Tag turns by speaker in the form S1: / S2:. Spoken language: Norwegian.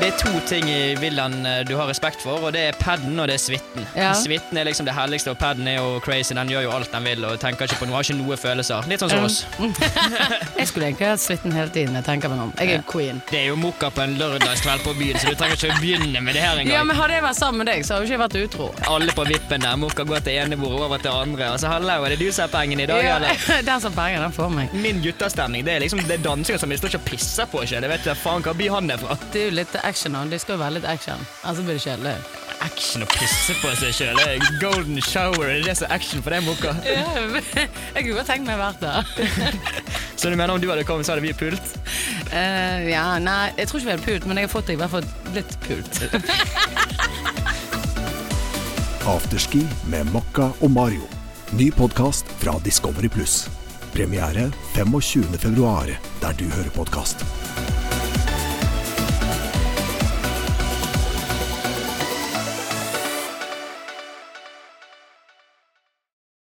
S1: Det er to ting i villaen eh, du har respekt for, og det er paden og det er suiten.
S2: Ja.
S1: Suiten er liksom det helligste, og paden er jo crazy. Den gjør jo alt den vil og tenker ikke på noe, har ikke noe følelser. Litt sånn
S2: Um.
S1: som oss.
S2: Jeg skulle egentlig hatt slitten helt inne, tenker jeg meg om. Jeg er queen.
S1: Det er jo mokka på en lørdagskveld på byen, så du trenger ikke å begynne med det her engang.
S2: Ja, men Hadde jeg vært sammen med deg, så hadde jeg ikke vært utro.
S1: Alle på vippen der, mokka går til ene bordet over til andre. Og så hallo, er det du som er pengen i dag,
S2: Ja,
S1: eller?
S2: den som penger, den får meg.
S1: Min guttastemning, det er liksom det er dansinger som vi står ikke og pisser på sjøl. Jeg vet ikke faen hva by han er fra.
S2: Det er jo litt action, og det skal jo være litt action. Ellers blir det kjedelig.
S1: Action å pisse på seg sjøl. Golden shower, det er det som er action for deg, mokka.
S2: jeg kunne godt tenkt meg å vært der.
S1: Så du mener om du hadde kommet, så hadde vi pult?
S2: Eh, ja, nei, jeg tror ikke vi hadde pult, men jeg har fått det i hvert fall blitt pult.
S3: Afterski med Mokka og Mario. Ny podkast fra Discovery Pluss. Premiere 25.2, der du hører podkast.